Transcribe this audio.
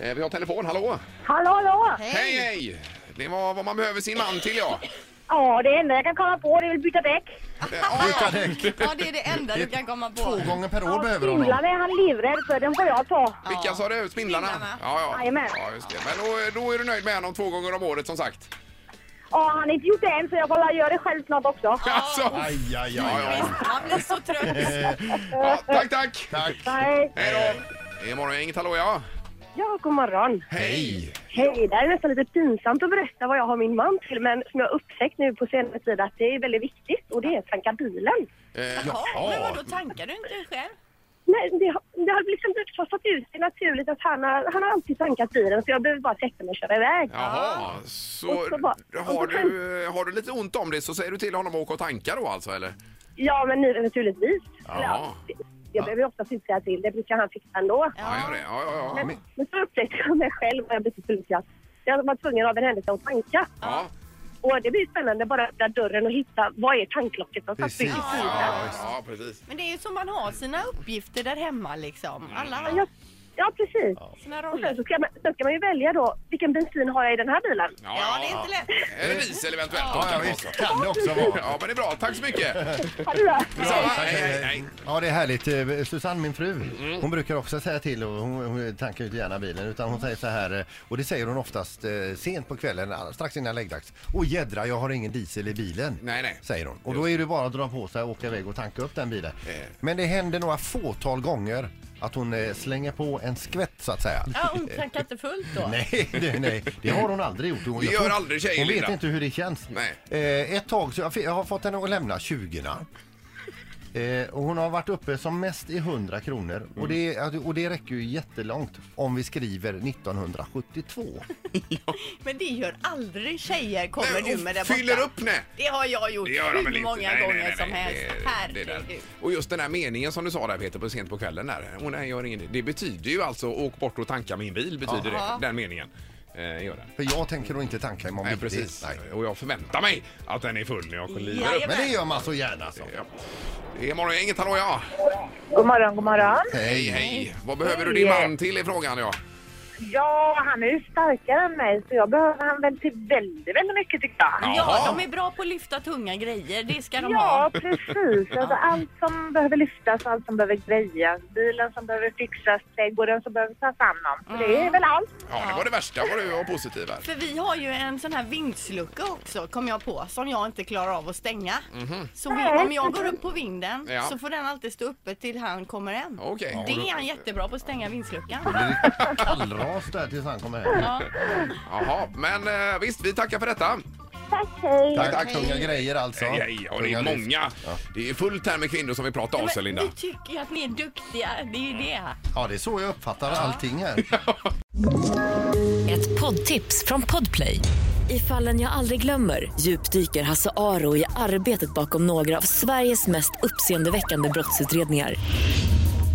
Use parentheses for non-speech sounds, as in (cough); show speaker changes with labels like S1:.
S1: Eh, Vi har telefon, hallå!
S2: Hallå, hallå!
S1: Hej, hej! Det var vad man behöver sin man till, ja.
S2: Ja, det enda jag kan komma på det är att byta däck.
S1: Eh, ja, ja.
S3: Byta däck.
S4: Ja, det är det enda du kan komma
S3: Två
S4: på.
S3: gånger per år
S2: Ja,
S3: behöver hon
S2: Spindlarna
S3: dem.
S2: är han livrädd för, den får jag ta.
S1: Vilka sa du? Spindlarna?
S4: Spindlarna.
S1: Ja, ja.
S2: Jajamän.
S1: ja just det. Men då, då är du nöjd med honom två gånger om året som sagt?
S2: Ja, han har inte gjort det än så jag får göra det själv snart också.
S1: (laughs) Alltså.
S3: Aj, aj, Eh,
S1: Ja,
S3: aj.
S1: ja.
S4: Visst, man blir så trött.
S1: Ja, tack, tack!
S3: Tack.
S2: Nej.
S1: Hej då! Det är morgongänget, hallå ja!
S2: Ja, god morgon.
S1: Hej!
S2: Hej, det är nästan lite pinsamt att berätta vad jag har min man till men som jag har upptäckt nu på senare tid att det är väldigt viktigt och det är att tanka bilen.
S1: Eh,
S4: Ja, men
S1: ja.
S4: vadå, tankar du inte själv?
S2: Nej, det, har- det har liksom blivit fasat ut sig naturligt att han har, han har alltid tankat bilen så jag behöver bara sätta mig och köra iväg.
S1: Jaha,
S2: Och
S1: så
S2: så bara-
S1: har
S2: och så
S1: du, har du lite ont om det så säger du till honom att åka och tanka då alltså eller?
S2: Ja, men nu, naturligtvis. Eller,
S1: Jaha.
S2: Jag behöver ju ofta fixa till, det brukar han fixa ändå.
S1: Ja, gör det. Ja, ja, ja.
S2: Men, men så upptäckte jag mig själv och jag blev så förlorad. Jag var tvungen av en händelse att tanka.
S1: ja.
S2: Och det blir spännande bara att öppna dörren och hitta vad är tanklocket som satt i
S3: Precis.
S2: bilen.
S1: Ja, ja, precis.
S4: Men det är ju som man har sina uppgifter där hemma liksom.
S1: Mm.
S4: Alla
S2: Ja,
S4: har
S2: ja, precis.
S4: sina
S2: Och sen,
S4: roller.
S2: så ska man, sen ska man ju välja då, vilken bensin har jag i den här bilen?
S4: Ja, det är inte lätt.
S1: Eller diesel eventuellt.
S3: Ja, ja,
S1: Ja,
S3: visst. Kan det också vara.
S1: ja, men det är bra. Tack så mycket.
S2: Har du det?
S1: Detsamma.
S3: Ja,
S1: Hej, hej, hej.
S3: Eh, Ja, det är härligt. Eh, Susanne, min fru,
S1: Mm.
S3: hon brukar också säga till och hon, hon tankar ju inte gärna bilen utan hon säger så här eh, och det säger hon oftast eh, sent på kvällen all- strax innan läggdags. Åh jädra, jag har ingen diesel i bilen.
S1: Nej, nej.
S3: Säger hon. Och då är det bara att dra på sig och åka iväg och tanka upp den bilen.
S1: Eh.
S3: Men det händer några fåtal gånger att hon eh, slänger på en skvätt så att säga.
S4: Ja, hon tankar inte fullt då.
S3: Nej, det, nej, det har hon aldrig gjort. Hon,
S1: Det
S3: jag
S1: gör
S3: tror-
S1: aldrig tjejer,
S3: Hon vet
S1: Linda.
S3: inte hur det känns.
S1: Nej.
S3: Eh, ett tag så jag, fi- jag har fått henne att lämna 20 Eh, och hon har varit uppe som mest i 100 kronor
S1: Mm.
S3: och, det, alltså, och det räcker ju jättelångt om vi skriver 1972.
S4: Men det gör aldrig tjejer, kommer
S1: Nej,
S4: du
S1: och
S4: med där borta.
S1: fyller upp, nej.
S4: Det har jag gjort
S1: Det gör de väl
S4: hur
S1: inte?
S4: många
S1: Nej, nej,
S4: gånger
S1: nej,
S4: som
S1: nej.
S4: helst.
S1: Det- det där.
S4: Herregud.
S1: Och just den här meningen som du sa där Peter, på sent på kvällen där. Åh nej, gör inget. Det betyder ju alltså åk bort och tanka min bil, betyder
S4: Ja.
S1: det. Den meningen. Eh, gör den.
S3: För jag tänker då inte tanka imorgon
S1: Nej,
S3: bitti.
S1: precis.
S3: Nej.
S1: Och jag förväntar mig att den är full när jag kliver upp.
S4: Jajamän.
S3: Men det gör man så gärna så.
S1: Ja. Det är morgongänget, hallå ja!
S2: (laughs) God morgon, god morgon.
S1: Hej, hej! Vad behöver du din
S2: Hej.
S1: man till i frågan ja?
S2: Ja, han är ju starkare än mig så jag behöver han väl till väldigt, väldigt mycket tycker jag.
S1: Jaha.
S4: Ja, de är bra på att lyfta tunga grejer. Det ska de
S2: Ja,
S4: ha.
S2: precis. Alltså, allt som behöver lyftas, allt som behöver grejas, bilen som behöver fixas, trädgården som behöver tas hand om. Så det är väl allt.
S1: Ja, det var det värsta vad du var positiv här.
S4: För vi har ju en sån här vindslucka också, kom jag på, som jag inte klarar av att stänga. Så vi, om jag går upp på vinden
S1: Ja.
S4: så får den alltid stå uppe till han kommer hem.
S1: Okej.
S4: Det är han jättebra på att stänga vindsluckan.
S3: Det är kallras där tills han kommer hem.
S4: Ja.
S1: Jaha, men eh, visst, vi tackar för detta.
S2: Tack, hej!
S3: Tack, tack. Tunga grejer alltså.
S1: Hej, hej. Ja, det
S3: Tunga
S1: är
S3: lyft.
S1: många.
S3: Ja.
S1: Det är fullt här med kvinnor som vi pratar av sig,
S4: Men
S1: Linda.
S4: vi tycker ju att ni är duktiga, det är ju det.
S3: Ja, det är så jag uppfattar allting här.
S5: Ett poddtips från Podplay. I fallen jag aldrig glömmer djupdyker Hasse Aro i arbetet bakom några av Sveriges mest uppseendeväckande brottsutredningar.